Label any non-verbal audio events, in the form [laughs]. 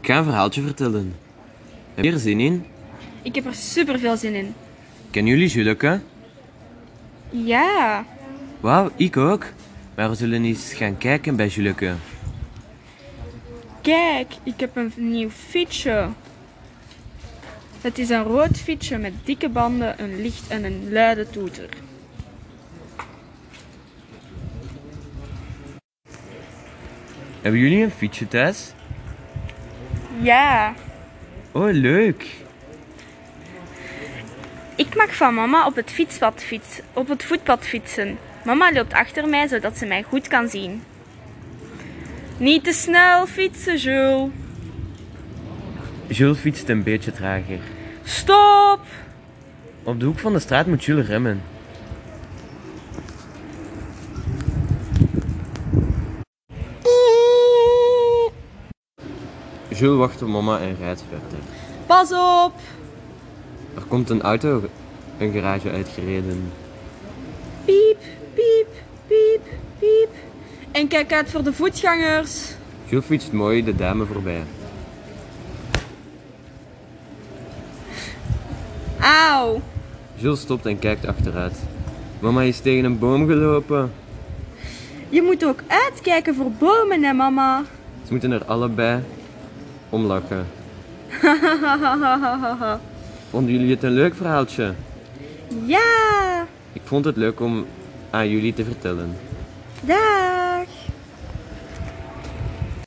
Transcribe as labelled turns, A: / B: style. A: Ik ga een verhaaltje vertellen. Heb je er zin in?
B: Ik heb er super veel zin in.
A: Kennen jullie Judoka?
B: Ja,
A: Wauw, ik ook. Maar we zullen eens gaan kijken bij Judoka.
B: kijk, ik heb een nieuw fietsje. Het is een rood fietsje met dikke banden, een licht en een luide toeter.
A: Hebben jullie een fietsje thuis?
B: Ja,
A: Oh, leuk.
B: ik mag van mama op het fietspad fietsen, op het voetpad fietsen. Mama loopt achter mij zodat ze mij goed kan zien. Niet te snel fietsen, Jules.
A: Jules fietst een beetje trager.
B: Stop!
A: Op de hoek van de straat moet Jules remmen. Jules wacht op mama en rijdt verder.
B: Pas op!
A: Er komt een auto een garage uitgereden.
B: Piep, piep, piep, piep. En kijk uit voor de voetgangers.
A: Jules fietst mooi de dame voorbij.
B: Auw.
A: Jules stopt en kijkt achteruit. Mama is tegen een boom gelopen.
B: Je moet ook uitkijken voor bomen, hè, mama. [laughs]
A: Ze moeten er allebei om lachen. Vonden jullie het een leuk verhaaltje?
B: ja,
A: Ik vond het leuk om aan jullie te vertellen.
B: dag.